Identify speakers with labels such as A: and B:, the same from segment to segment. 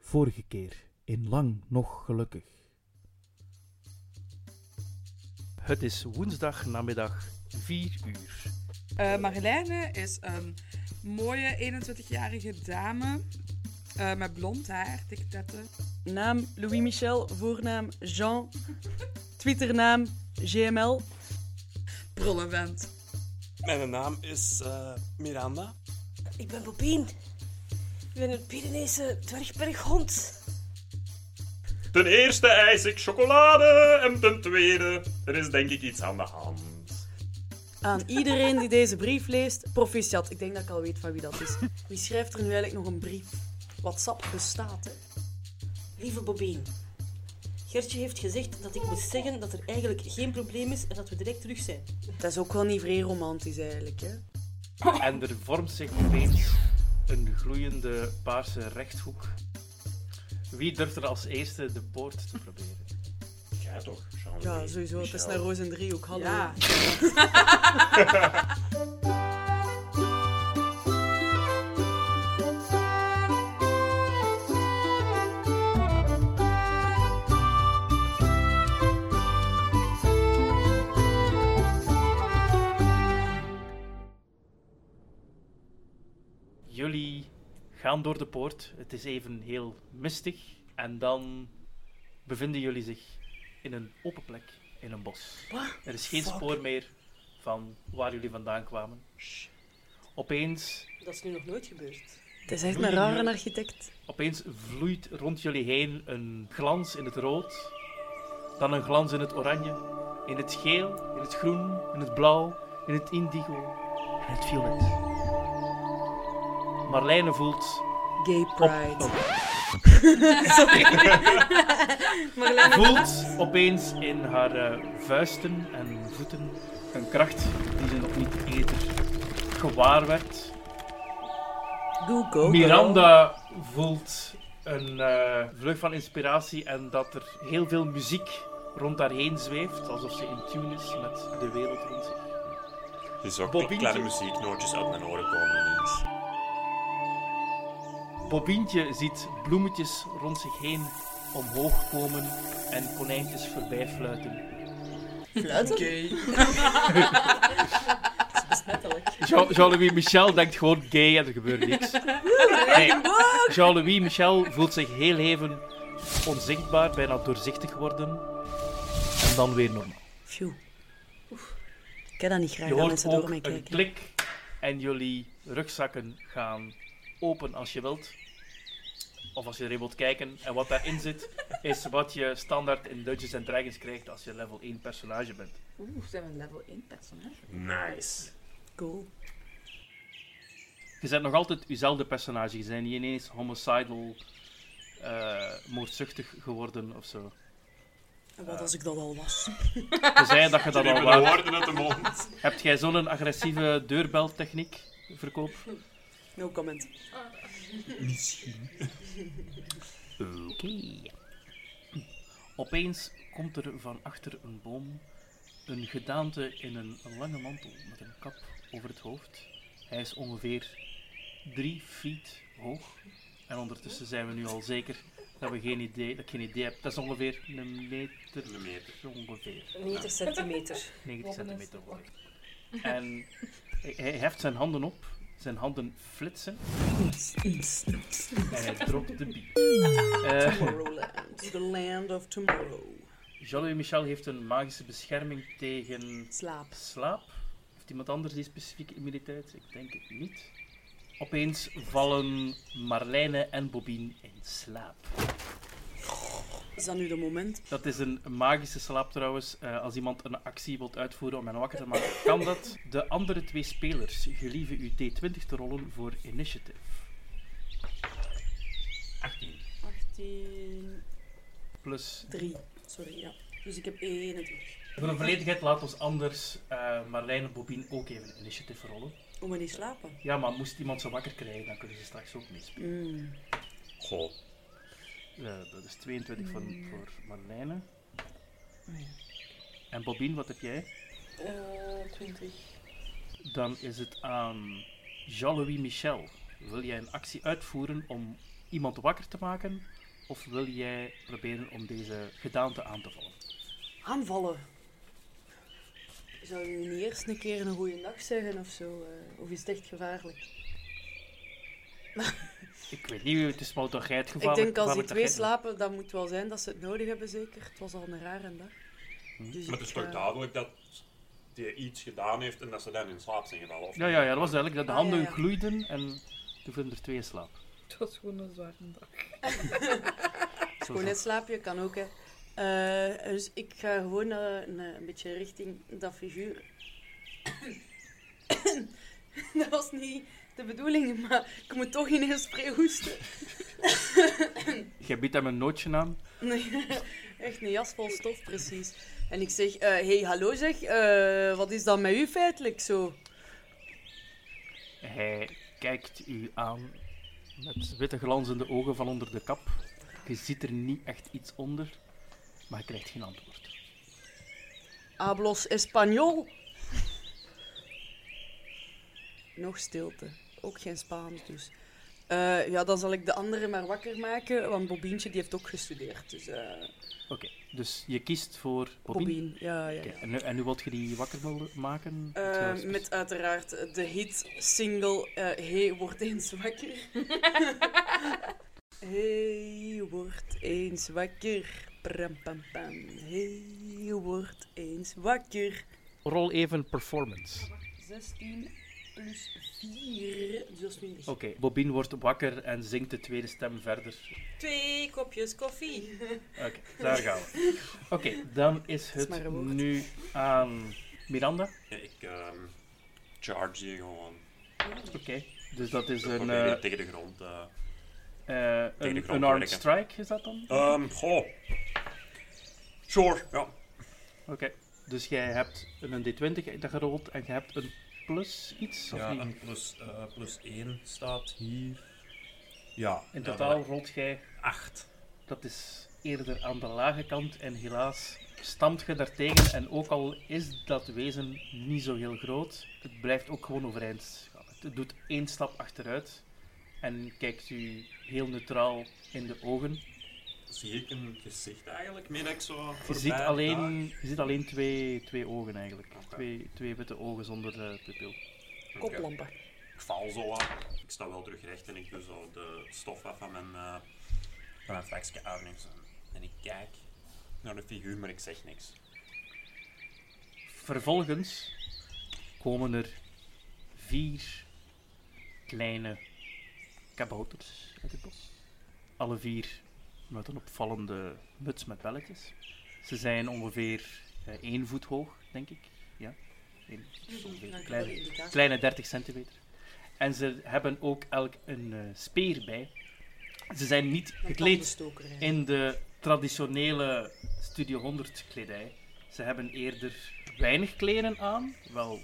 A: vorige keer in Lang nog gelukkig.
B: Het is woensdag namiddag 4 uur.
C: Eh Marlene is een mooie 21-jarige dame eh, met blond haar, dikke tetten.
D: Naam Louis Michel, voornaam Jean, Twitternaam GML.
C: Brullenwend.
E: Mijn naam is eh, Miranda.
F: Ik ben Bobien. Ik ben een Pyrenese dwergberghond.
E: Ten eerste eis ik chocolade en ten tweede, er is denk ik iets aan de hand.
D: Aan iedereen die deze brief leest, proficiat. Ik denk dat ik al weet van wie dat is. Wie schrijft er nu eigenlijk nog een brief? WhatsApp bestaat, hè?
F: Lieve Bobien. Gertje heeft gezegd dat ik moet zeggen dat er eigenlijk geen probleem is en dat we direct terug zijn.
D: Dat is ook wel niet vrij romantisch, eigenlijk, hè?
B: En er vormt zich opeens een gloeiende paarse rechthoek. Wie durft er als eerste de poort te proberen?
E: Jij toch, jean
D: Ja, sowieso. Het is naar Roos en Driehoek. Hallo.
C: Ja.
B: Jullie gaan door de poort. Het is even heel mistig. En dan bevinden jullie zich in een open plek in een bos. Er is geen spoor meer van waar jullie vandaan kwamen. Opeens
F: Dat is nu nog nooit gebeurd.
D: Het is echt een rare architect.
B: Opeens vloeit rond jullie heen een glans in het rood, dan een glans in het oranje, in het geel, in het groen, in het blauw, in het indigo en het violet. Marlijne voelt, oh.
D: Gay pride.
B: voelt opeens in haar eh, vuisten en voeten een kracht die ze nog niet eerder gewaar werd.
D: Doe go.
B: Miranda voelt een eh vlucht van inspiratie en dat er heel veel muziek rond haar heen zweeft, alsof ze in tune is met de wereld rond zich.
E: Je zou ook
B: Bobientje.
E: kleine muzieknootjes uit mijn oren komen ineens.
B: Bobientje ziet bloemetjes rond zich heen omhoog komen en konijntjes voorbij fluiten.
D: Letterlijk.
B: Jean- Jean-Louis Michel denkt gewoon gay en er gebeurt niks. Nee, Jean-Louis Michel voelt zich heel even onzichtbaar, bijna doorzichtig worden. En dan weer normaal.
D: Phew. Oef. Ik heb dat niet graag,
B: Je
D: dat
B: hoort
D: mensen door
B: ook
D: mij
B: een
D: kijken.
B: klik en jullie rugzakken gaan open als je wilt. Of als je erin wilt kijken. En wat daarin zit, is wat je standaard in Dungeons and Dragons krijgt als je level 1 personage bent.
G: Oeh, zijn we een level 1 personage?
E: Nice.
D: Cool.
B: Je bent nog altijd jezelfde personage. Je bent niet ineens homicidal, eh, moordzuchtig geworden of zo.
D: En wat als ik dat al was?
B: Tenzij dat je dat al
E: hebben de
B: waard.
E: woorden uit de mond.
B: Hebt jij zo'n agressieve deurbeltechniek verkoop?
D: No comment.
B: Oké. Opeens komt er van achter een boom een gedaante in een lange mantel met een kap over het hoofd. Hij is ongeveer drie feet hoog. En ondertussen zijn we nu al zeker dat, we geen idee, dat ik geen idee heb. Dat is ongeveer een meter,
E: Een meter.
B: ongeveer.
F: Een meter centimeter.
B: 90 centimeter hoog. En hij- hij heft zijn handen op, zijn handen flitsen. En hij dropt de beat. Eh,
D: Tomorrowland. The land of tomorrow.
B: Jean-Louis Michel heeft een magische bescherming tegen
D: Slaap.
B: slaap. Heeft iemand anders die specifieke immuniteit? Ik denk het niet. Opeens vallen Marlijne en Bobine in slaap.
D: Is dat nu de moment?
B: Dat is een magische slaap trouwens. Eh, als iemand een actie wilt uitvoeren om hen wakker te maken, kan dat. De andere twee spelers gelieven u D20 te rollen voor initiative.
D: 18.
B: Plus,
D: 3. Sorry, ja. Dus ik heb 21.
B: voor de volledigheid laat ons anders eh Marlijne en Bobine ook even initiative rollen.
D: Om we niet slapen?
B: Ja, maar moest iemand ze wakker krijgen, dan kunnen ze straks ook meespelen.
D: Mm.
E: Goh.
B: Ja, eh, dat is 22 voor, voor Marlijne.
D: Oh
B: En Bobien, wat heb jij?
F: 20.
B: Dan is het aan Jean-Louis Michel. Wil jij een actie uitvoeren om iemand wakker te maken? Of wil jij proberen om deze gedaante aan te vallen?
D: Aanvallen. Zouden we niet eerst een keer een goede dag zeggen of zo? eh, Of is het echt gevaarlijk?
B: Ik weet niet, het is wel toch jij het geval.
D: Ik denk als die twee slapen, dat moet wel zijn dat ze het nodig hebben, zeker. Het was al een rare dag. Dus
E: Maar het
D: ik,
E: is toch
D: eh,
E: duidelijk dat die iets gedaan heeft en dat ze dan in slaap zijn gevallen? Of
B: Ja, ja, ja, dat was duidelijk. Dat de
D: Ah, ja,
B: handen
D: ja.
B: gloeiden en toen vinden er twee in slaap.
G: Het was gewoon een zware dag.
B: Zo
D: Gewoon
B: is
D: net
B: dat.
D: slaapje kan ook, hè. Eh, dus ik ga gewoon eh, naar- een beetje richting dat figuur. dat was niet de bedoeling, maar ik moet toch ineens spray hoesten.
B: Jij biedt hem een nootje aan.
D: Nee, echt een jas vol stof, precies. En ik zeg, eh hey, hallo zeg, eh, wat is dat met u feitelijk zo?
B: Hij kijkt u aan met witte glanzende ogen van onder de kap. Je ziet er niet echt iets onder, maar je krijgt geen antwoord.
D: Hablos Español? Nog stilte. Ook geen Spaans dus. Eh, ja, dan zal ik de anderen maar wakker maken, want Bobientje die heeft ook gestudeerd. Dus eh
B: Oké, dus je kiest voor Bobby.
D: Bobien, ja, ja. ja.
B: Oké, en, nu, en nu wilt je die wakker wil maken?
D: Eh,
B: Het, eh, spe-
D: met uiteraard de hit single eh Hey, word eens wakker. hey, word eens wakker. Pram, pam, pam. Hey, word eens wakker.
B: Rol even performance.
D: 16 plus 4, dus 20.
B: Oké, Bobine wordt wakker en zingt de tweede stem verder.
F: Twee kopjes koffie.
B: Oké, daar gaan we. Oké, dan is
D: is maar
B: het
D: een woord.
B: nu aan Miranda.
E: Ik ehm, charge je gewoon.
B: Oké, dus dat is
E: Ik
B: een,
E: probeer
B: eh,
E: je tegen de grond. eh.
B: eh,
E: de
B: een
E: grond
B: unarmed
E: werken.
B: strike, is dat dan?
E: Ehm, goh. Sure, ja.
B: Oké, dus jij hebt een D20 dat gerold en je hebt een plus iets? Of
E: Ja,
B: niet?
E: en plus, eh, plus 1 staat hier. Ja.
B: In
E: ja,
B: totaal
E: dat-
B: rolt jij,
E: acht.
B: dat is eerder aan de lage kant en helaas stamt je daartegen. En ook al is dat wezen niet zo heel groot, het blijft ook gewoon overeind gaan. Het doet één stap achteruit en kijkt u heel neutraal in de ogen.
E: Zie ik een gezicht eigenlijk? Meen ik zo
B: Je
E: voorbij
B: ziet alleen,
E: daar?
B: je ziet alleen twee, twee ogen eigenlijk.
E: Oké.
B: Twee, twee witte ogen zonder eh, pupil.
E: Oké.
D: Koplampen.
E: Ik val zo aan. Ik sta wel terug recht en ik doe zo de stof af van mijn, eh, van mijn flexje aan. En, zo. en ik kijk naar de figuur, maar ik zeg niks.
B: Vervolgens komen er vier kleine kabouters uit het bos. Alle vier met een opvallende muts met belletjes. Ze zijn ongeveer eh, één voet hoog, denk ik. Ja, Eén- het is ongeveer een kleine, kleine 30 centimeter. En ze hebben ook elk een eh, speer bij. Ze zijn niet gekleed in de traditionele Studio 100 kledij. Ze hebben eerder weinig kleren aan, wel,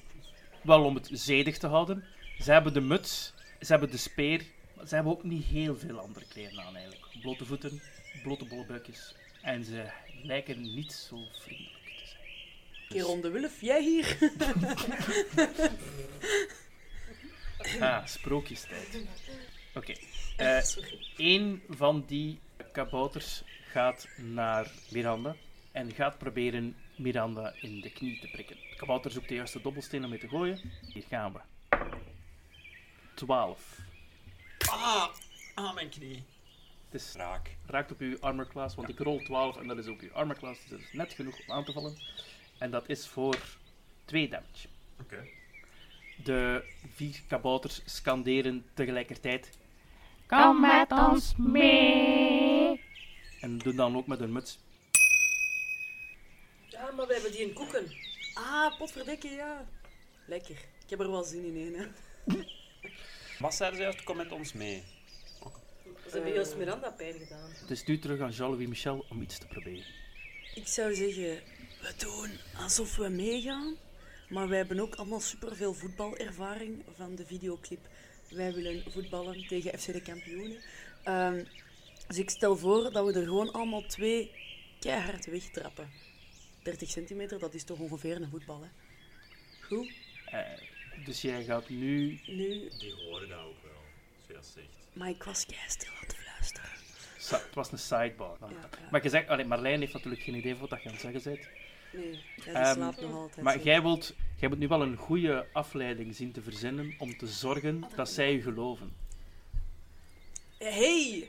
B: wel om het zedig te houden. Ze hebben de muts, ze hebben de speer, maar ze hebben ook niet heel veel andere kleren aan eigenlijk. Blote voeten, blote bollebuikjes. En ze lijken niet zo vriendelijk te zijn.
D: Keron de Wulf, jij hier?
B: Ah, sprookjestijd. Oké. Eh, Eén van die kabouters gaat naar Miranda en gaat proberen Miranda in de knie te prikken. De kabouter zoekt de juiste dobbelsteen om mee te gooien. Hier gaan we. 12.
E: Ah, ah mijn knie.
B: Het is,
E: Raak.
B: raakt op uw armor class, want ik rol 12 en dat is ook uw armor class, dus dat is net genoeg om aan te vallen. En dat is voor 2 damage.
E: Oké.
B: De vier kabouters scanderen tegelijkertijd.
H: Kom met ons mee.
B: En doen dan ook met hun muts.
F: Ja, maar we hebben die in koeken.
D: Ah, potverdikke, ja. Lekker. Ik heb er wel zin in, hè.
E: Wat zeiden ze juist? Kom met ons mee.
F: Ze
D: Eh.
F: hebben juist Miranda pijn gedaan.
B: Het is nu terug aan Jean-Louis Michel om iets te proberen.
D: Ik zou zeggen, we doen alsof we meegaan. Maar wij hebben ook allemaal superveel voetbalervaring van de videoclip. Wij willen voetballen tegen FC de kampioenen. Ehm, dus ik stel voor dat we er gewoon allemaal twee keihard wegtrappen. 30 centimeter, dat is toch ongeveer een voetbal, hè? Goed,
B: Eh, dus jij gaat nu.
D: nu...
E: Die horen dat ook wel. Zoals zegt.
D: Maar ik was keihard stil aan het fluisteren. luisteren.
B: Sa- het was een sidebar.
D: Ja, ja.
B: Maar je zegt, allee, Marlijn heeft natuurlijk geen idee van wat dat je aan het zeggen bent.
D: Nee, ja, die
B: Ehm,
D: slaapt nog altijd.
B: Maar
D: zo.
B: jij wilt, jij moet nu wel een goede afleiding zien te verzinnen om te zorgen dat zij je geloven.
D: Hey,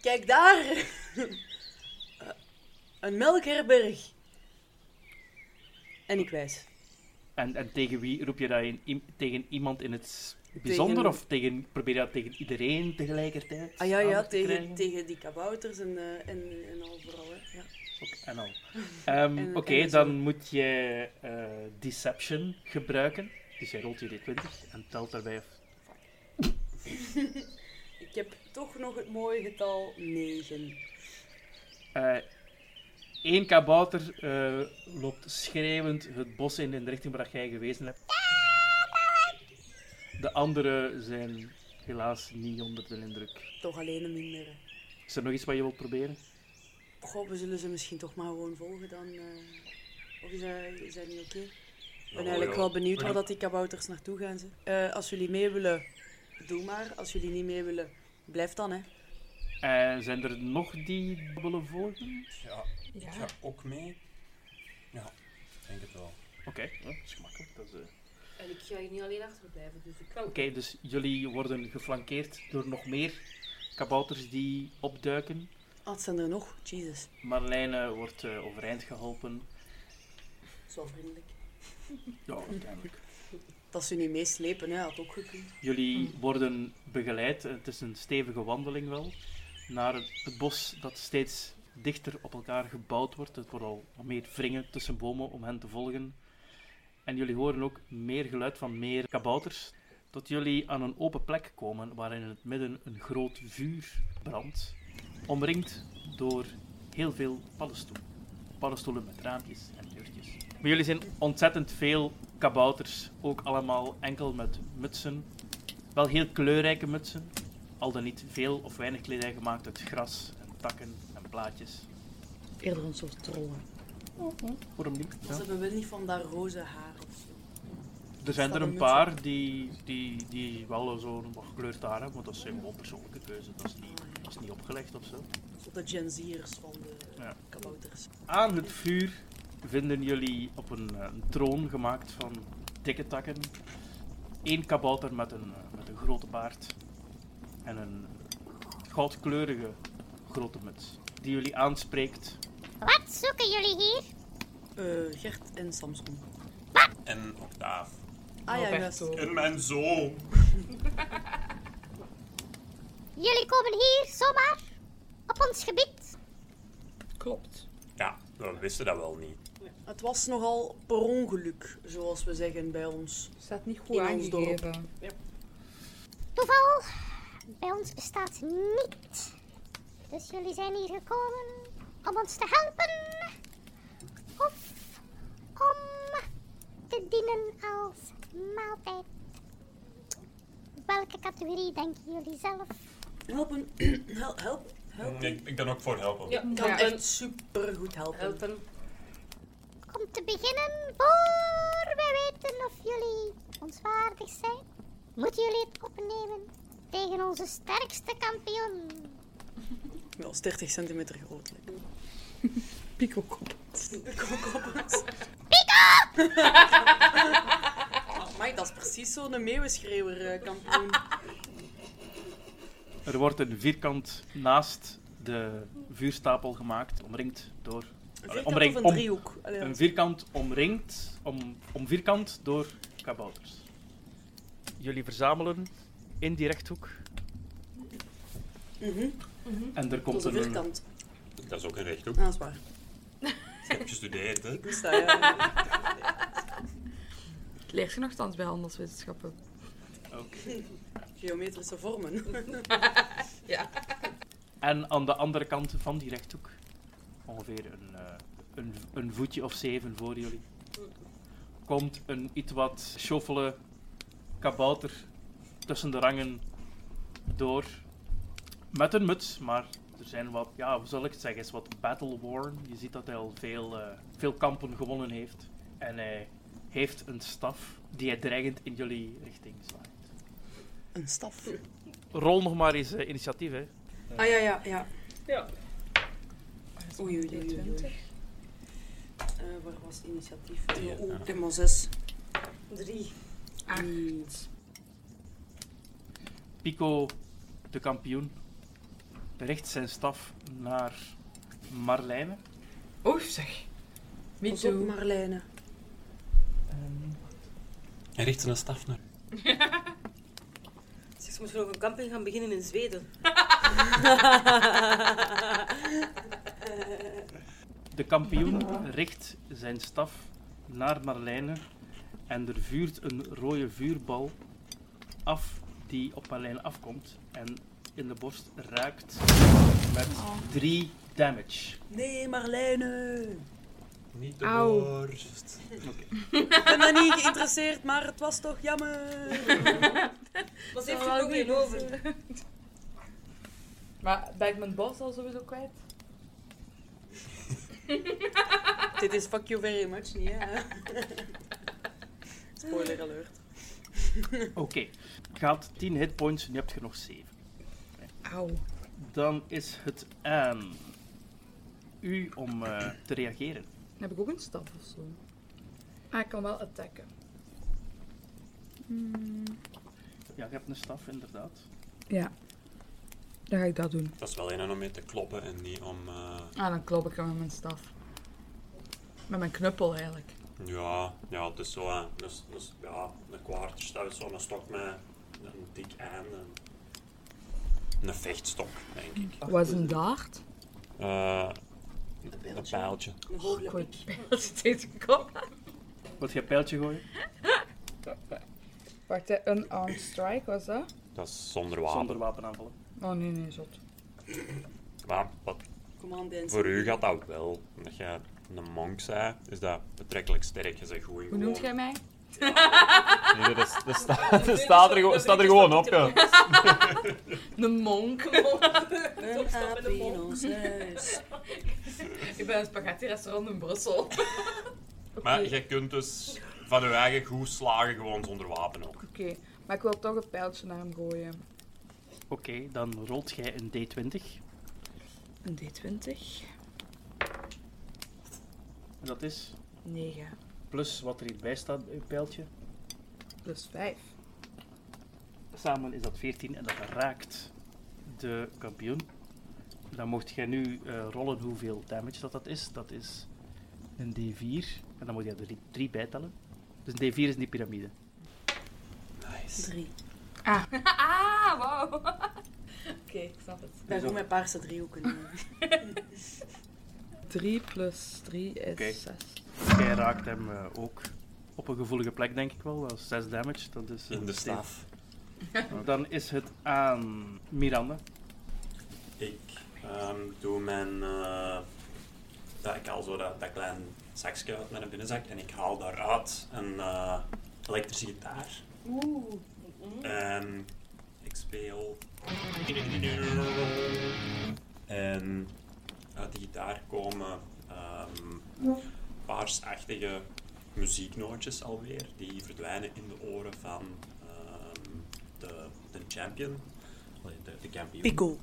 D: kijk daar! Eh, Een melkherberg. En ik wijs.
B: En, en tegen wie roep je dat? In, i- tegen iemand in het bijzonder?
D: Tegen-
B: Of tegen, probeer je dat tegen iedereen tegelijkertijd?
D: Ah ja, ja
B: aandacht te
D: tegen,
B: krijgen?
D: tegen die kabouters en, eh, en, en al vooral. Hè. Ja.
B: Ook- En al. Ehm,
D: En-
B: Oké,
D: en zo.
B: dan moet je eh, Deception gebruiken. Dus jij rolt je D20 en telt daarbij.
D: Ik heb toch nog het mooie getal 9.
B: Eh, Eén kabouter eh, loopt schreeuwend het bos in in de richting waar jij gewezen hebt. De anderen zijn helaas niet onder de indruk.
D: Toch alleen een mindere.
B: Is er nog iets wat je wilt proberen?
D: Goh, we zullen ze misschien toch maar gewoon volgen dan. eh. Of is dat, is dat niet oké? Ik ben eigenlijk wel benieuwd waar dat die kabouters naartoe gaan. Ze. Eh, als jullie mee willen, doe maar. Als jullie niet mee willen, blijf dan, hè.
B: En Eh, zijn er nog die willen volgen?
E: Ja, ik ga ook mee. Ja, ik denk het wel.
B: Oké, ja, dat is gemakkelijk. Dat is, eh,
F: En ik ga hier niet alleen achterblijven, dus ik kan...
B: Oké, dus jullie worden geflankeerd door nog meer kabouters die opduiken.
D: Ah, het zijn er nog. Jesus.
B: Marlijn eh, wordt eh, overeind geholpen.
D: Zo vriendelijk.
B: Ja, uiteindelijk.
D: Dat ze niet meeslepen, hè, had ook gekund.
B: Jullie worden begeleid, het is een stevige wandeling wel, naar het, het bos dat steeds dichter op elkaar gebouwd wordt. Het wordt al wat meer wringen tussen bomen om hen te volgen. En jullie horen ook meer geluid van meer kabouters. Tot jullie aan een open plek komen waarin in het midden een groot vuur brandt. Omringd door heel veel paddenstoelen. Paddenstoelen met raampjes en deurtjes. Maar jullie zijn ontzettend veel kabouters. Ook allemaal enkel met mutsen. Wel heel kleurrijke mutsen. Al dan niet veel of weinig kledij gemaakt uit gras en takken en blaadjes.
F: Eerder een soort trollen.
B: Waarom niet? Ja.
D: Ze hebben wel niet van dat roze haar of zo.
B: Er zijn er
D: Staat
B: een
D: een
B: paar die, die, die wel zo'n wat gekleurd haar hebben, want dat is gewoon persoonlijke keuze. Dat is niet, dat is niet opgelegd of zo.
D: Zo de Gen Z'ers van de
B: Ja.
D: kabouters.
B: Aan het vuur vinden jullie op een, eh, een troon gemaakt van dikke takken. Eén kabouter met een, eh, met een grote baard. En een goudkleurige grote muts. Die jullie aanspreekt.
H: Wat zoeken jullie hier?
D: Eh, Gert en Samson.
E: En Octaaf.
D: Ah ja, juist.
G: Roberto.
E: En mijn zoon.
H: Jullie komen hier zomaar op ons gebied.
G: Klopt.
E: Ja, we wisten dat wel niet.
D: Het was nogal per ongeluk, zoals we zeggen bij ons.
G: Staat niet goed
D: In ons
G: aangegeven.
H: Toeval bij ons bestaat niet. Dus jullie zijn hier gekomen om ons te helpen of om te dienen als maaltijd. Welke categorie denken jullie zelf?
D: Helpen. Help, help. Help.
E: Ik, ik ben ook voor helpen.
F: Ja,
D: Kan
F: ja, en
D: echt super goed helpen.
F: helpen.
H: Om te beginnen, voor wij weten of jullie ons waardig zijn, moeten jullie het opnemen tegen onze sterkste kampioen.
D: Ja, als 30 centimeter groot. lijkt me.
G: Pikkokop.
D: Oh, Amai, dat is precies zo'n meeuwenschreeuwer eh, kampioen.
B: Er wordt een vierkant naast de vuurstapel gemaakt, omringd door
D: Een vierkant
B: omring-
D: of
B: om-
D: een driehoek? Allee, ja.
B: Een vierkant omringd, om, om vierkant door kabouters. Jullie verzamelen in die rechthoek.
D: Mhm,
B: En er komt
D: Dat is een
B: een,
D: vierkant.
E: Dat is ook een rechthoek.
D: Ah, dat is waar.
E: Ik heb gestudeerd, hè.
D: Ik wist dat, ja.
I: Ik leer ze nogthans bij handelswetenschappen.
D: Geometrische vormen.
B: en aan de andere kant van die rechthoek, ongeveer een, eh, een, een voetje of zeven voor jullie, komt een iets wat schoffele kabouter tussen de rangen door. Met een muts, maar er zijn wat, ja, hoe zal ik het zeggen, is wat battle-worn. Je ziet dat hij al veel, eh, veel kampen gewonnen heeft. En hij heeft een staf die hij dreigend in jullie richting zwaait.
D: Een staf.
B: Rol nog maar eens eh, initiatief, hè.
D: Ah ja, ja, ja.
G: Ja.
D: Oei, oei, oei, oei, oei.
G: 20.
D: Eh, waar was het initiatief? Oh,
E: Ja.
D: Oeh, ik heb maar zes.
F: Drie.
D: Niet.
B: Pico, de kampioen, richt zijn staf naar Marlijne.
G: Oef, zeg. Me
D: Pas op,
G: too.
D: Marlijne.
E: Hij richt zijn staf naar.
F: Straks moeten we nog een camping gaan beginnen in Zweden.
B: De kampioen richt zijn staf naar Marlijne en er vuurt een rode vuurbal af die op Marlijne afkomt en in de borst raakt met 3 damage.
D: Nee, Marlijne.
E: Niet de
G: Auw.
E: worst.
D: Ik ben daar niet geïnteresseerd, maar het was toch jammer.
F: Wat heeft er nog in over?
G: Maar ben ik mijn bos al sowieso kwijt?
D: Dit is fuck you very much, niet hè? Spoiler alert.
B: Oké, gaat 10 hitpoints, nu heb je nog 7.
G: Auw.
B: Dan is het aan u om eh, te reageren.
I: Heb ik ook een staf of zo?
G: Ah, ik kan wel attacken.
B: Ja, je hebt een staf inderdaad.
I: Ja. Dan ga ik dat doen.
E: Dat is wel een om mee te kloppen en niet om. eh,
I: Ah, dan klop ik hem met mijn staf. Met mijn knuppel eigenlijk.
E: Ja, ja, het is zo. hè. Dus, dus ja, een kwaart staat zo'n stok met een dik eind en een vechtstok, denk ik.
I: Wat is een daart?
E: Eh een pijltje.
I: Ik word steeds kop.
B: Wilt je een pijltje gooien?
G: Wacht, hè, unarmed strike was dat?
E: Dat is zonder wapen.
B: Zonder wapenaanvallen.
G: Oh nee, nee, zot.
E: Maar wat
D: Come on, dance.
E: voor u gaat dat wel. Omdat je een monk bent, is dat betrekkelijk sterk. Je bent goed in
I: Hoe noemt jij mij?
E: Nee, dat, is- dat staat, dat staat er, gewoon- staat er gewoon op, ja.
I: Een monk.
D: Een aap in ons huis.
I: ik ben een spaghetti restaurant in Brussel. Oké,
E: Maar je kunt dus van je eigen goed slagen gewoon zonder wapen ook.
G: maar ik wil toch een pijltje naar hem gooien.
B: Oké, dan rolt jij een D20.
I: een D20.
B: Dat is
I: 9
B: plus wat er hierbij staat bij uw pijltje.
G: Plus 5.
B: Samen is dat 14 en dat raakt de kampioen. Dan mocht jij nu eh, rollen hoeveel damage dat, dat is. Dat is een D4. En dan moet je er 3 bij tellen. Dus een D4 is in die piramide.
E: Nice.
D: Drie.
I: Ah, wauw. Oké, ik snap het.
D: Ik ben goed met paarse driehoeken. hè.
G: 3 plus 3 is
B: Oké.
G: 6.
B: Jij raakt hem eh, ook op een gevoelige plek, denk ik wel. Dat is 6 damage. Dat is, eh,
E: In de
B: steeds-
E: staf.
B: Dan is het aan Miranda.
E: Ik ehm, doe mijn. eh dat, ik haal zo dat, dat klein zakje uit mijn binnenzak en ik haal daaruit een eh, elektrische gitaar. En ik speel. En uit die gitaar komen ehm, paarsachtige muzieknootjes alweer, die verdwijnen in de oren van ehm, de, de champion. Allee, De, de kampioen.
D: Pico.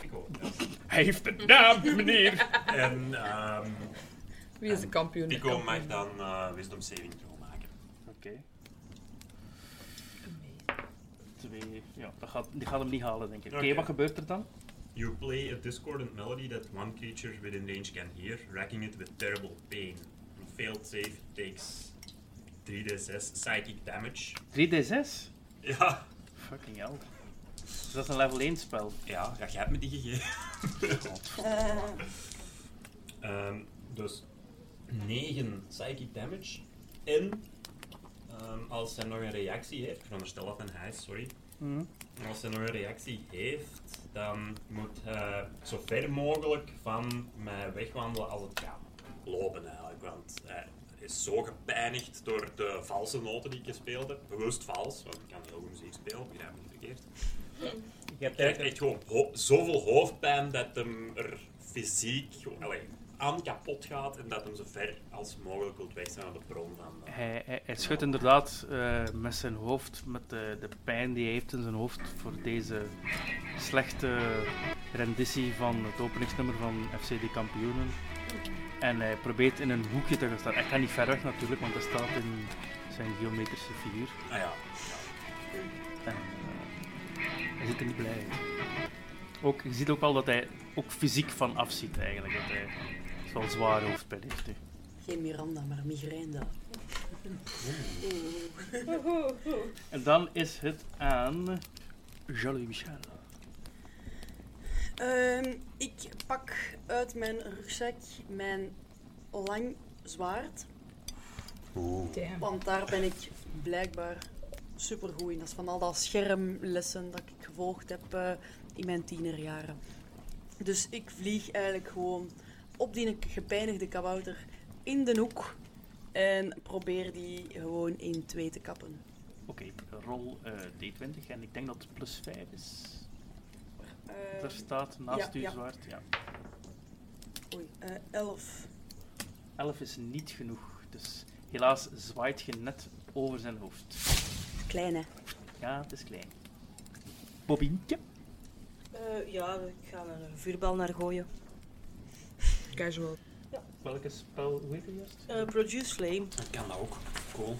E: Pico, ja.
B: Hij heeft een naam, meneer!
E: En ehm
G: Wie is de kampioen? De
E: Pico
G: kampioen.
E: mag dan eh wisdom saving throw maken.
B: Oké. Twee. Ja, dat gaat, die gaat hem niet halen, denk ik. Oké,
E: Oké.
B: wat gebeurt er dan?
E: You play a discordant melody that one creature within range can hear, racking it with terrible pain. On a failed save takes 3d6 psychic damage.
B: 3d6?
E: Ja,
B: Fucking hell. Dus dat is een level 1 spel.
E: ja, ja jij hebt me die gegeven.
G: Eh.
E: Ehm, dus 9 psychic damage. En ehm, als hij nog een reactie heeft, ik veronderstel dat een hij is, sorry. En Als hij nog een reactie heeft, dan moet hij zo ver mogelijk van mij wegwandelen als het kan. Lopen eigenlijk, want eh, hij is zo gepijnigd door de valse noten die ik gespeeld heb. Bewust vals, want ik kan heel goed muziek spelen, begrijp me niet verkeerd.
B: Je hebt
E: Hij krijgt echt gewoon ho- zoveel hoofdpijn dat hem er fysiek, allee, aan kapot gaat en dat hem zo ver als mogelijk wilt weg zijn aan de bron van. eh,
B: Hij, hij, hij schudt inderdaad eh, met zijn hoofd, met de, de pijn die hij heeft in zijn hoofd voor deze slechte renditie van het openingsnummer van FC de Kampioenen. En hij probeert in een hoekje te gaan staan. Hij kan niet ver weg natuurlijk, want hij staat in zijn geometrische figuur.
E: Ah ja.
B: En, eh, hij ziet er niet blij uit. Ook, je ziet ook wel dat hij ook fysiek van afziet eigenlijk. Dat hij wel zware hoofdpijn heeft nu.
D: Geen Miranda, maar Migrenda.
B: En dan is het aan Jolly Michel.
D: Ehm, ik pak uit mijn rugzak mijn lang zwaard.
G: Damn.
D: Want daar ben ik blijkbaar supergoed in. Dat is van al dat schermlessen dat ik gevolgd heb eh, in mijn tienerjaren. Dus ik vlieg eigenlijk gewoon op die gepijnigde kabouter in de hoek. En probeer die gewoon in twee te kappen.
B: Oké, rol eh, D20 en ik denk dat het plus 5 is.
D: Eh,
B: Daar staat naast uw
D: ja, ja.
B: zwaard. Ja.
D: oei, eh, elf.
B: 11 is niet genoeg, dus helaas zwaait je net over zijn hoofd.
D: Kleine.
B: Ja, het is klein. Bobientje.
F: Eh, ja, ik ga er een vuurbal naar gooien.
G: Casual.
B: Welke spel hoe heet het juist?
F: Eh, produce flame.
E: Dat kan dat ook. Cool.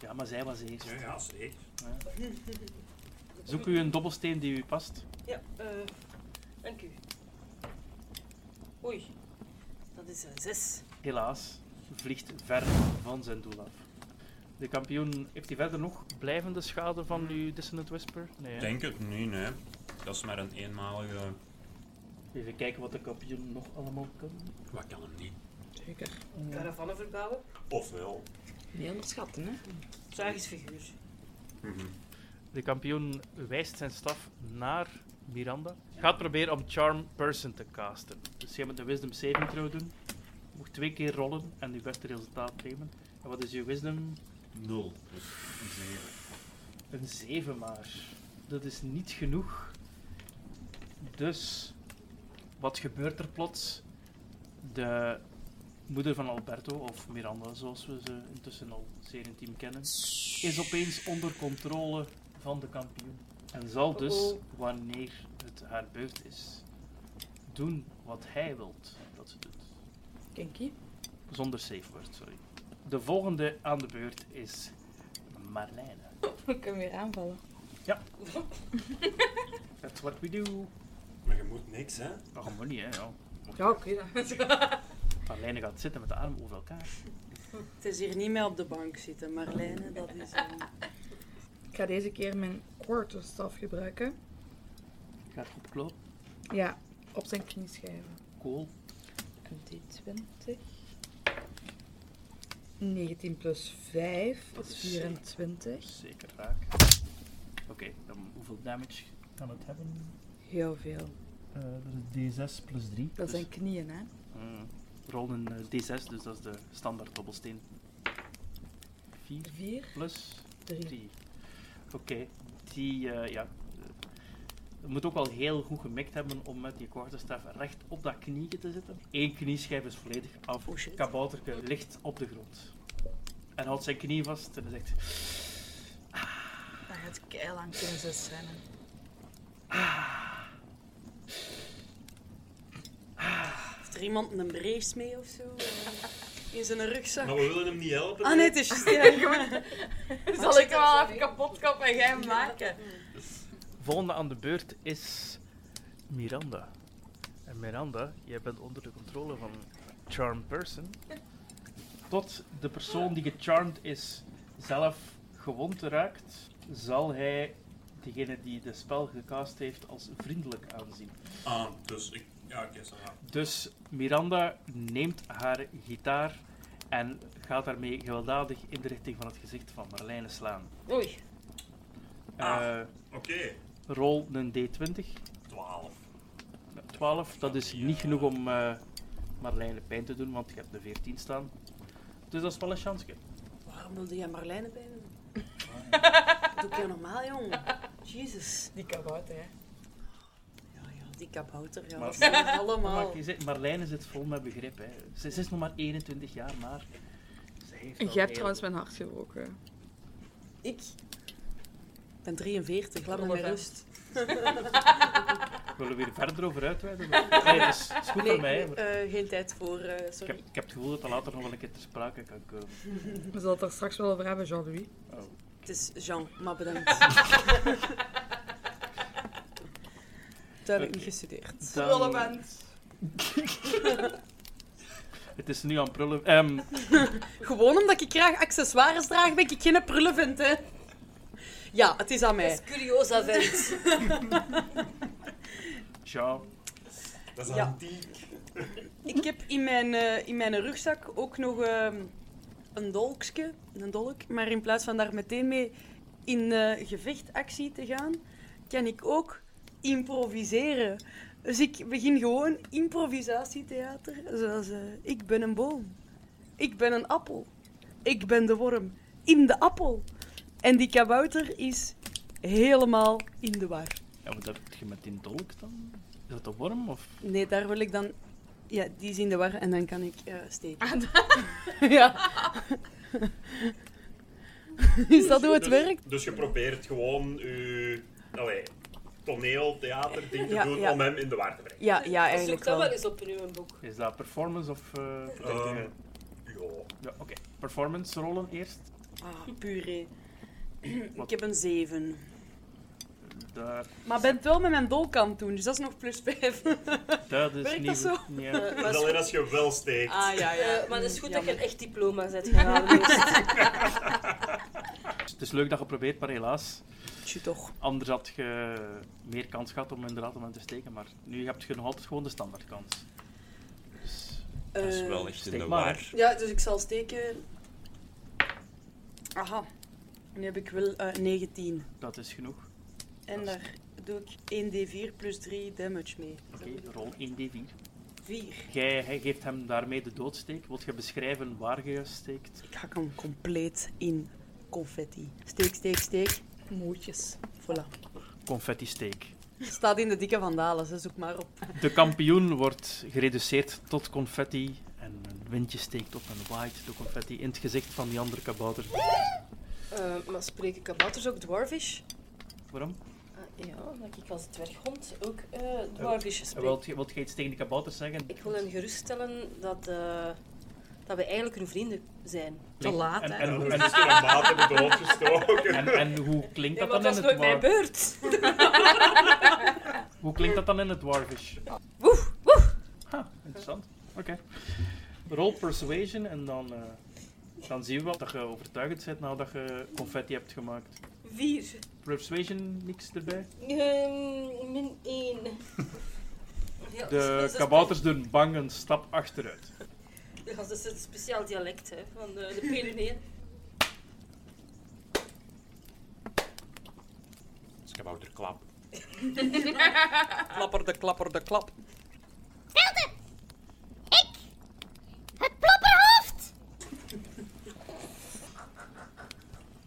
B: Ja, maar zij was eerst.
E: Ja, ja zeker.
B: Zoek u een dobbelsteen die u past.
F: Ja, eh, dank u. Oei, dat is een zes.
B: Helaas vliegt ver van zijn doel af. De kampioen, heeft hij verder nog blijvende schade van uw Dissonant Whisper? Nee.
E: Ik
B: hè?
E: Denk het nu, nee. Dat is maar een eenmalige.
B: Even kijken wat de kampioen nog allemaal kan.
E: Wat kan hem niet?
G: Zeker.
F: Caravannen verbouwen.
E: Ofwel.
G: Niet onderschatten, hè?
F: Tragisch figuur.
E: Mhm.
B: De kampioen wijst zijn staf naar Miranda. Gaat proberen om Charm Person te casten. Dus jij moet een Wisdom saving throw doen. Je moet twee keer rollen en je beste resultaat nemen. En wat is je Wisdom?
E: Nul. Dus een zeven.
B: Een 7 maar. Dat is niet genoeg. Dus, wat gebeurt er plots? De moeder van Alberto, of Miranda zoals we ze intussen al zeer intiem kennen, is opeens onder controle van de kampioen. En zal dus, wanneer het haar beurt is, doen wat hij wilt dat ze doet.
G: Kinky.
B: Zonder safe word, sorry. De volgende aan de beurt is Marlijne.
G: We kunnen weer aanvallen.
B: That's what we do.
E: Maar je moet niks, hè?
B: Oh, maar niet, hè, ja.
G: Ja, oké dan.
B: Marlijne gaat zitten met de armen over elkaar.
D: Het is hier niet meer op de bank zitten, Marlijne. Dat is... ehm,
G: Ik ga deze keer mijn quarterstaf gebruiken.
B: Gaat goed klopt.
G: Ja, op zijn knie schrijven.
B: Cool.
G: Een D20. 19 plus 5
B: Dat
G: is
B: is
G: 24.
B: Zeker raak. Oké, dan hoeveel damage kan het hebben? Eh,
G: Heel veel.
B: dat is D6 plus 3.
G: Dat zijn knieën, hè?
B: rol een eh, D6, dus dat is de standaard dobbelsteen. 4
G: 4,
B: plus
G: 3.
B: 3. Oké, die, eh, ja... eh, Je moet ook wel heel goed gemikt hebben om met die quarterstaff recht op dat knietje te zitten. Eén knieschijf is volledig af.
D: Oh shit.
B: Kabouterke ligt op de grond. En houdt zijn knie vast en hij zegt...
G: Dan gaat keil aan kunnen zes rennen.
D: Heeft er iemand een brace mee of zo? eh, In zijn rugzak?
E: Maar we willen hem niet helpen.
D: Ah nee, het is juist, ja, gewoon-
I: Zal ik hem wel even kapot kappen en jij hem maken?
B: Volgende aan de beurt is Miranda. En Miranda, jij bent onder de controle van Charm Person. Tot de persoon die gecharmed is zelf gewond raakt, zal hij degene die de spel gecast heeft als vriendelijk aanzien.
E: Ah, dus ik. Ja, oké, zo ja.
B: Dus Miranda neemt haar gitaar en gaat daarmee gewelddadig in de richting van het gezicht van Marlijne slaan.
F: Oei,
E: Ah.
B: Eh,
E: Oké,
B: rol een D20.
E: 12.
B: 12, dat is
E: Ja.
B: niet genoeg om eh Marlijne pijn te doen, want je hebt de 14 staan. Dus dat is wel een chansje.
D: Waarom wilde jij Marlijne bij doen? Doe ik jou normaal, jongen? Jezus.
G: Die kabouter, hè?
D: Ja, ja. die kabouter, ja.
B: Maar-
D: dat staat allemaal.
B: Maar je zit, Marlijne zit vol met begrip. Hè. Ze, ze is nog maar 21 jaar, maar ze heeft
G: Jij
B: al
G: hebt
B: heel-
G: trouwens mijn hart gebroken.
D: Ik ben 43, laat me met
F: Rollenvent.
D: rust.
B: Willen we hier verder over uitweiden? Nee, dat is, is goed
D: Nee,
B: voor mij. hè, maar
D: eh, geen tijd voor, eh,
B: Ik,
D: sorry.
B: heb, ik heb het gevoel dat dat later nog wel een keer ter sprake kan komen.
I: We zullen het er straks wel over hebben, Jean-Louis.
D: Het is Jean, maar bedankt. Daar heb ik niet gestudeerd.
B: Dan- Het is nu aan prullen. ehm,
D: Gewoon omdat ik graag accessoires draag, ben ik geen prullenvent, hè. Ja, het is aan mij.
F: Curiosa vent.
B: Jean,
E: Dat is
D: Ja.
E: antiek.
D: Ik heb in mijn, eh, in mijn rugzak ook nog ehm, een dolkje, een dolk. Maar in plaats van daar meteen mee in eh, gevechtactie te gaan, kan ik ook improviseren. Dus ik begin gewoon improvisatietheater, zoals eh, ik ben een boom, ik ben een appel, ik ben de worm in de appel. En die kabouter is helemaal in de war.
B: ja, wat heb je met die dolk dan? Is dat de worm? Of?
D: Nee, daar wil ik dan... Ja, die is in de war en dan kan ik eh, steken. ja. is dat hoe het
E: dus,
D: werkt?
E: Dus je probeert gewoon je allee, toneel, theater, ding te
D: Ja,
E: doen
D: ja.
E: om hem in de waar te brengen.
D: Ja, ja
F: Zoek
D: eigenlijk
F: dat wel
D: wel.
F: eens op in uw boek.
B: Is dat performance of... eh,
E: Ehm, ja.
B: ja, oké. Performance rollen eerst.
D: Ah, puree. ik heb een 7.
B: Daar,
D: Maar ben het wel met mijn dolkant doen, dus dat is nog plus 5.
B: dat is
D: Werkt
B: niet...
D: dat zo?
B: Ja.
E: Dat is alleen als je wel steekt.
D: Ah ja, ja.
F: Eh, maar het is goed dat je
D: Jammer.
F: een echt diploma bent gaan halen. dus.
B: Het is leuk dat je probeert, maar helaas...
D: Tjoe, toch.
B: Anders had je meer kans gehad om inderdaad om hem te steken, maar nu heb je nog altijd gewoon de standaardkans. Dus
D: Eh,
E: echt
B: in de steek maar. war.
D: Ja, dus ik zal steken. Aha. Nu heb ik wel eh, 19.
B: dat is genoeg.
D: En daar doe ik 1d4 plus 3 damage mee.
B: Oké, rol 1d4.
D: 4.
B: Jij hij geeft hem daarmee de doodsteek. Wilt je beschrijven waar je steekt?
D: Ik hak hem compleet in confetti. Steek, steek, steek.
I: Mootjes.
D: Voilà.
B: Confetti steek.
D: Staat in de dikke vandalen, hè. zoek maar op.
B: De kampioen wordt gereduceerd tot confetti. En een windje steekt op en waait de confetti in het gezicht van die andere kabouter.
F: Eh, maar spreken kabouters ook dwarfish?
B: Waarom?
F: Ah, ja, omdat ik als dwerghond ook eh dwarfish spreek.
B: Wilt je, wilt je iets tegen die kabouter zeggen?
F: Ik wil hen geruststellen dat, eh, dat we eigenlijk hun vrienden zijn.
I: Te laat,
B: En,
I: hè.
B: en,
E: En
B: hoe-
E: dan
B: en,
E: is er een maat in de dood gestoken.
B: en, en hoe klinkt dat dan in het dwarf?
F: beurt.
B: Hoe klinkt dat dan in het Dwarvish? Woef, woef. Ha, interessant. Oké. Roll persuasion en dan, eh, dan zien we wat dat je overtuigend bent nadat je confetti hebt gemaakt.
F: Vier.
B: Persuasion, niks erbij.
F: Ehm, min één. Ja, dat
B: De
F: is een
B: kabouters doen bang een stap achteruit.
F: spe- Ja, dat is een speciaal dialect hè, van de, de Pyreneeën.
E: Dus kabouter klap.
D: Klapper de klapper de klap.
H: Wilde! Ik! Het plopperhoofd!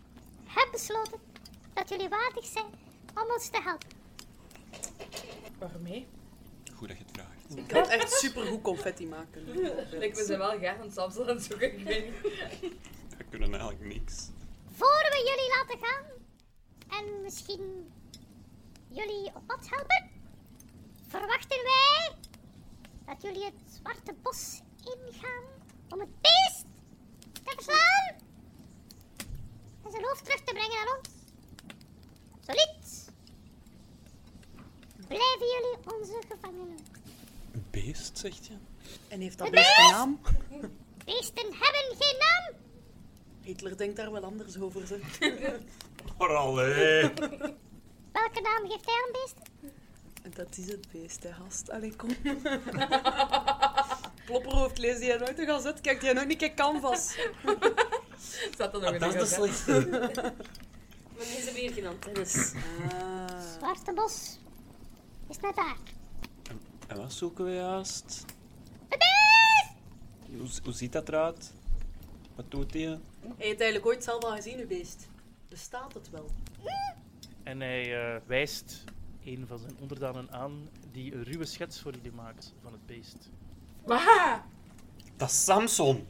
H: heb besloten dat jullie waardig zijn om ons te helpen.
G: Waarmee?
E: Goed dat je het vraagt.
D: Ik kan echt supergoed confetti maken.
G: Ik we zijn wel graag aan het sapsel aan het zoeken. Ik weet niet.
E: We kunnen eigenlijk niks.
H: Voor we jullie laten gaan en misschien jullie op pad helpen, verwachten wij dat jullie het zwarte bos ingaan om het beest te verslaan en zijn hoofd terug te brengen aan ons. Solid! Blijven jullie onze gevangenen.
E: Een beest, zegt je?
D: En heeft dat best een naam?
H: Beesten hebben geen naam!
D: Hitler denkt daar wel anders over, zeg.
E: Maar allee.
H: Welke naam geeft hij aan beesten?
D: En dat is het beest, hè, gast. Allee, kom. Plopperhoofd, lees jij nooit de gazet? Kijk jij nooit niet kijk canvas?
G: Staat
B: Ah,
G: dat nog in de
F: Dat is de
G: gazette?
F: slechtste. Maar deze hebben hier geen antennes.
D: Ah.
H: Zwarte bos is net daar.
E: En wat zoeken we juist?
H: Het beest!
E: Hoe, hoe ziet dat eruit? Wat doet hij?
D: Heb je het eigenlijk ooit zelf al gezien, uw beest? Bestaat het wel?
B: En hij eh, wijst een van zijn onderdanen aan die een ruwe schets voor jullie maakt van het beest.
I: Waha!
E: Dat is Samson.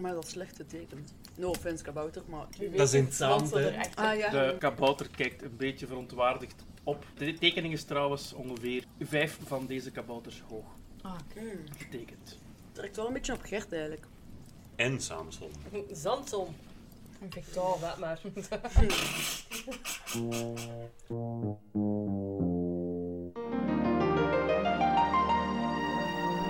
D: Maar dat is slecht getekend. No offense, kabouter, maar...
E: Dat is in het zand, hè.
D: Ah ja.
B: De kabouter kijkt een beetje verontwaardigd op. De tekening is trouwens ongeveer vijf van deze kabouters hoog
D: Hmm.
B: getekend.
D: Trekt wel een beetje op Gert, eigenlijk.
E: En Samson.
F: Zandsom.
G: Victor.
F: Laat maar.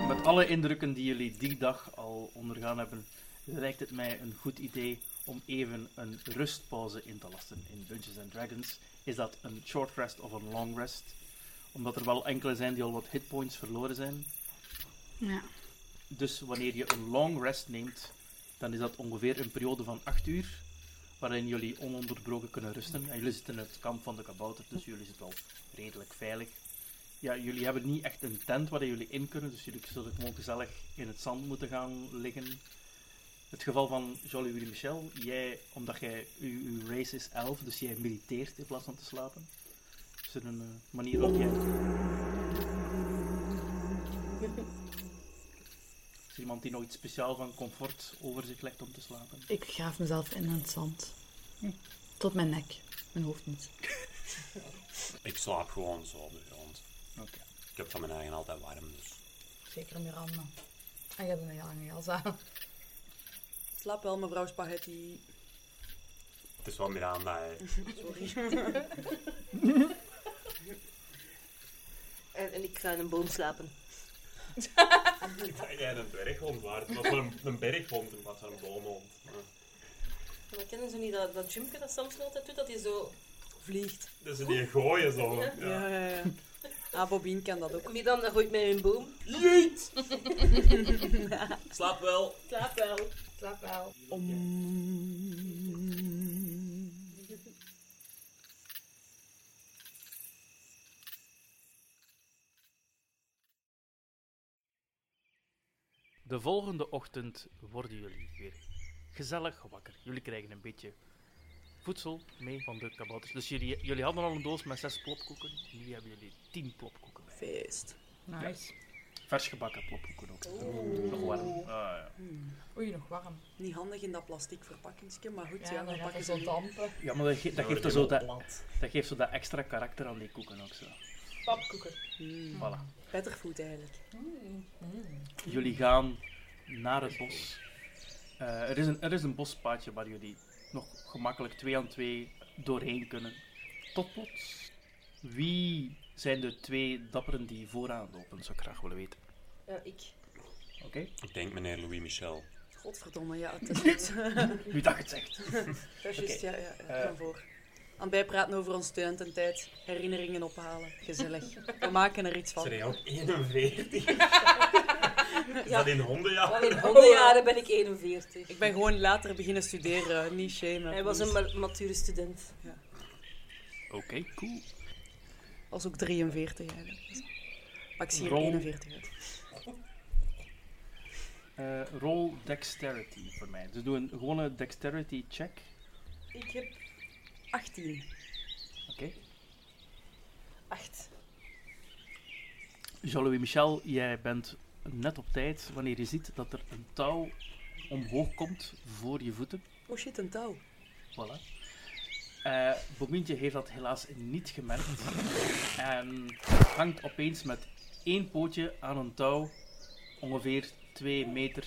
B: Met alle indrukken die jullie die dag al ondergaan hebben, lijkt het mij een goed idee om even een rustpauze in te lasten. In Dungeons and Dragons is dat een short rest of een long rest, omdat er wel enkele zijn die al wat hitpoints verloren zijn.
G: Ja.
B: Dus wanneer je een long rest neemt, dan is dat ongeveer een periode van 8 uur, waarin jullie ononderbroken kunnen rusten. En jullie zitten in het kamp van de kabouter, dus jullie zitten wel redelijk veilig. Ja, jullie hebben niet echt een tent waar jullie in kunnen, dus jullie zullen gewoon gezellig in het zand moeten gaan liggen. Het geval van Jolie Michel, jij, omdat jij, uw, uw race is 11, dus jij militeert in plaats van te slapen. Is er een eh, manier waarop jij... Is er iemand die nog iets speciaal van comfort over zich legt om te slapen?
I: Ik graaf mezelf in het zand.
G: Hm.
I: Tot mijn nek. Mijn hoofd niet.
E: Ik slaap gewoon zo op de grond.
B: Oké.
E: Ik heb van mijn eigen altijd warm, dus...
I: Zeker om je randen.
G: Ah,
I: En je hebt een heel lange jas aan.
D: Slaap wel, mevrouw Spaghetti.
E: Het is wel Miranda, hè.
F: En, en ik ga in een boom slapen.
E: Ik dacht jij een dwerghond waard. Het was wel een, een berghond in plaats van een boomhond. Maar
F: Maar kennen ze niet dat, dat Jumke dat Samson altijd doet? Dat hij zo
D: Vliegt.
E: Dat is die gooien zo.
F: Ja.
D: Ja, ja, ja. Ah, Bobien kan dat ook.
F: Wie dan, dat gooit mij in een boom.
E: Jeet! Slaap wel.
F: Slaap wel.
G: Slaap wel.
B: De volgende ochtend worden jullie weer gezellig wakker. Jullie krijgen een beetje voedsel mee van de kabouters. Dus jullie, jullie hadden al een doos met zes plopkoeken. Nu hebben jullie tien plopkoeken.
D: Feest.
I: Nice.
B: Vers gebakken plopkoeken ook. Nog warm. Ah, ja.
I: Oei, nog warm.
D: Niet handig in dat plastic verpakkingsje, maar goed, ja, dan
I: dan gaat
D: pakken
I: het
D: ze
I: zo
D: dan.
I: dampen.
B: ja, maar dat, ge- dat, geeft er zo dat, dat geeft zo dat extra karakter aan die koeken ook zo.
G: Papkoeken.
B: Voilà.
D: Better food, Hmm. eigenlijk.
B: Jullie gaan naar het bos. Eh, er, is een, er is een bospaadje waar jullie nog gemakkelijk twee aan twee doorheen kunnen. Tot plots. Wie zijn de twee dapperen die vooraan lopen, zou ik graag willen weten.
F: Ja, ik.
B: Oké?
E: Ik denk meneer Louis Michel.
D: Godverdomme, ja, het is goed.
B: Wie dacht het zegt.
D: Dat is juist, ja, ja, ja.
B: Eh.
D: Gaan voor. Aan het bijpraten over onze studententijd. Herinneringen ophalen. Gezellig. We maken er iets van.
E: Zijn jij ook 41? Is dat in hondenjaar?
F: Al in honderden jaren ben ik 41.
D: Ik ben gewoon later beginnen studeren. eh, Niet shame.
F: Hij
E: dus.
F: was een ma- mature student.
B: Oké, cool.
D: was ook 43 eigenlijk. Dus- Maar ik zie er
B: Rol.
D: 41 uit.
B: Eh, roll dexterity voor mij. Dus doe een gewone dexterity check.
F: Ik heb
D: 18.
B: Oké.
F: acht.
B: Jean-Louis Michel, jij bent net op tijd wanneer je ziet dat er een touw omhoog komt voor je voeten.
D: Oh shit, een touw.
B: Voilà. Eh Bomientje heeft dat helaas niet gemerkt. En Ehm, hangt opeens met één pootje aan een touw, ongeveer 2 meter,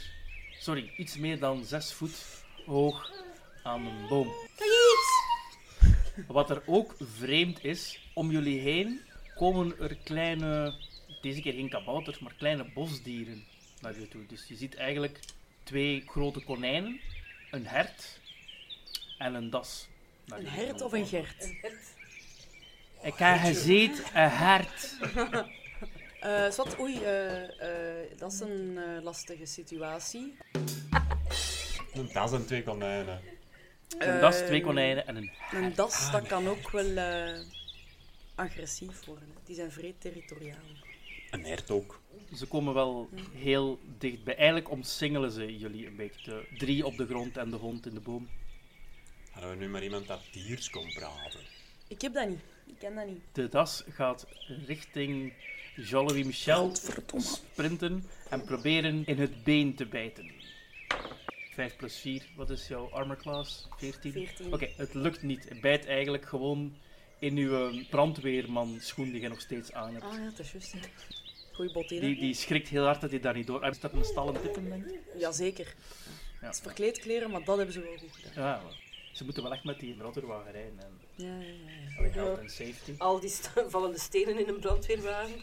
B: sorry, iets meer dan 6 voet hoog aan een boom. Wat er ook vreemd is, om jullie heen komen er kleine, deze keer geen kabouters, maar kleine bosdieren naar je toe. Dus je ziet eigenlijk twee grote konijnen, een hert en een das. naar
D: Een
B: jullie
D: hert
B: toe
D: of een
B: komen.
D: gert?
B: Ik heb gezien een hert.
D: Eh zwart, oei, eh, eh, dat is een eh, lastige situatie.
E: Dat zijn twee konijnen.
B: Een das,
D: Eh,
B: twee konijnen en een
D: Een das, dat kan ook wel eh, agressief worden. hè. Die zijn vreed territoriaal.
E: Een hert ook.
B: Ze komen wel heel dichtbij. Eigenlijk omsingelen ze jullie een beetje. De drie op de grond en de hond in de boom.
E: Hadden we nu maar iemand dat diers kon praten.
D: Ik heb dat niet. Ik ken dat niet.
B: De das gaat richting. Jean-Louis Michel sprinten en proberen in het been te bijten. 5 plus 4, wat is jouw armor class? 14?
F: 14.
B: Oké, het lukt niet. Het bijt eigenlijk gewoon in uw eh, brandweerman schoen die je nog steeds aan hebt.
F: Ah ja, dat is juist. hè. Goeie bot in.
B: Die,
F: hè.
B: die schrikt heel hard dat hij daar niet door... Ah, Is dat een stallen tippen, denk ik?
D: Jazeker.
B: Ja.
D: Het is verkleedkleren, maar dat hebben ze wel goed gedaan.
B: Ja, wel. ze moeten wel echt met die brandweerwagen rijden. En,
D: Ja, ja, ja.
B: Allee, health and safety.
F: Al die st- vallende stenen in een brandweerwagen.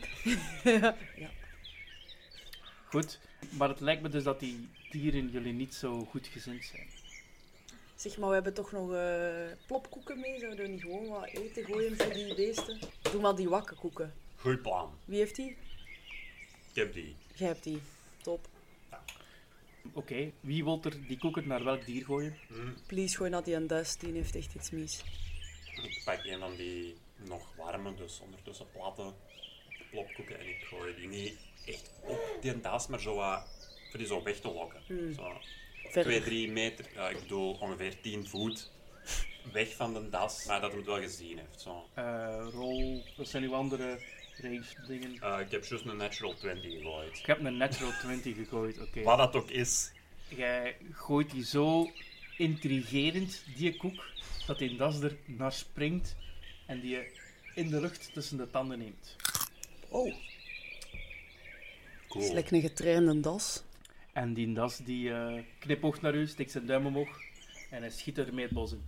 B: Goed, maar het lijkt me dus dat die dieren jullie niet zo goed gezind zijn.
D: Zeg, maar we hebben toch nog eh, plopkoeken mee? Zouden we niet gewoon wat eten gooien voor die beesten? Doe maar die wakkenkoeken.
E: Goed plan.
D: Wie heeft die?
E: Ik heb die.
D: Jij hebt die. Top.
B: Oké, wie wil er die koeker naar welk dier gooien?
D: Please, gooi naar die een duist. Die heeft echt iets mis.
E: Ik pak een van die nog warme, dus ondertussen platte plopkoeken en ik gooi die niet echt op die das, maar zo wat, voor die zo weg te lokken. Zo
D: Verder.
E: 2, 3 meter, ja, ik bedoel ongeveer 10 voet weg van de das, maar dat hem het wel gezien heeft. Zo.
B: Eh rol, wat zijn uw andere range dingen?
E: Eh, ik heb juist een natural 20 gegooid.
B: Ik heb een natural 20 gegooid, oké.
E: Wat dat ook is.
B: Jij gooit die zo intrigerend, die koek, dat die das er naar springt en die je in de lucht tussen de tanden neemt.
D: Oh,
E: Cool.
D: is lekker een getrainde das.
B: En die das die eh knipoogt naar u, steekt zijn duim omhoog en hij schiet ermee het bos in.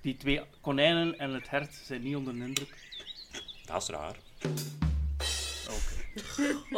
B: Die twee konijnen en het hert zijn niet onder de indruk.
E: Dat is raar.
B: Oké.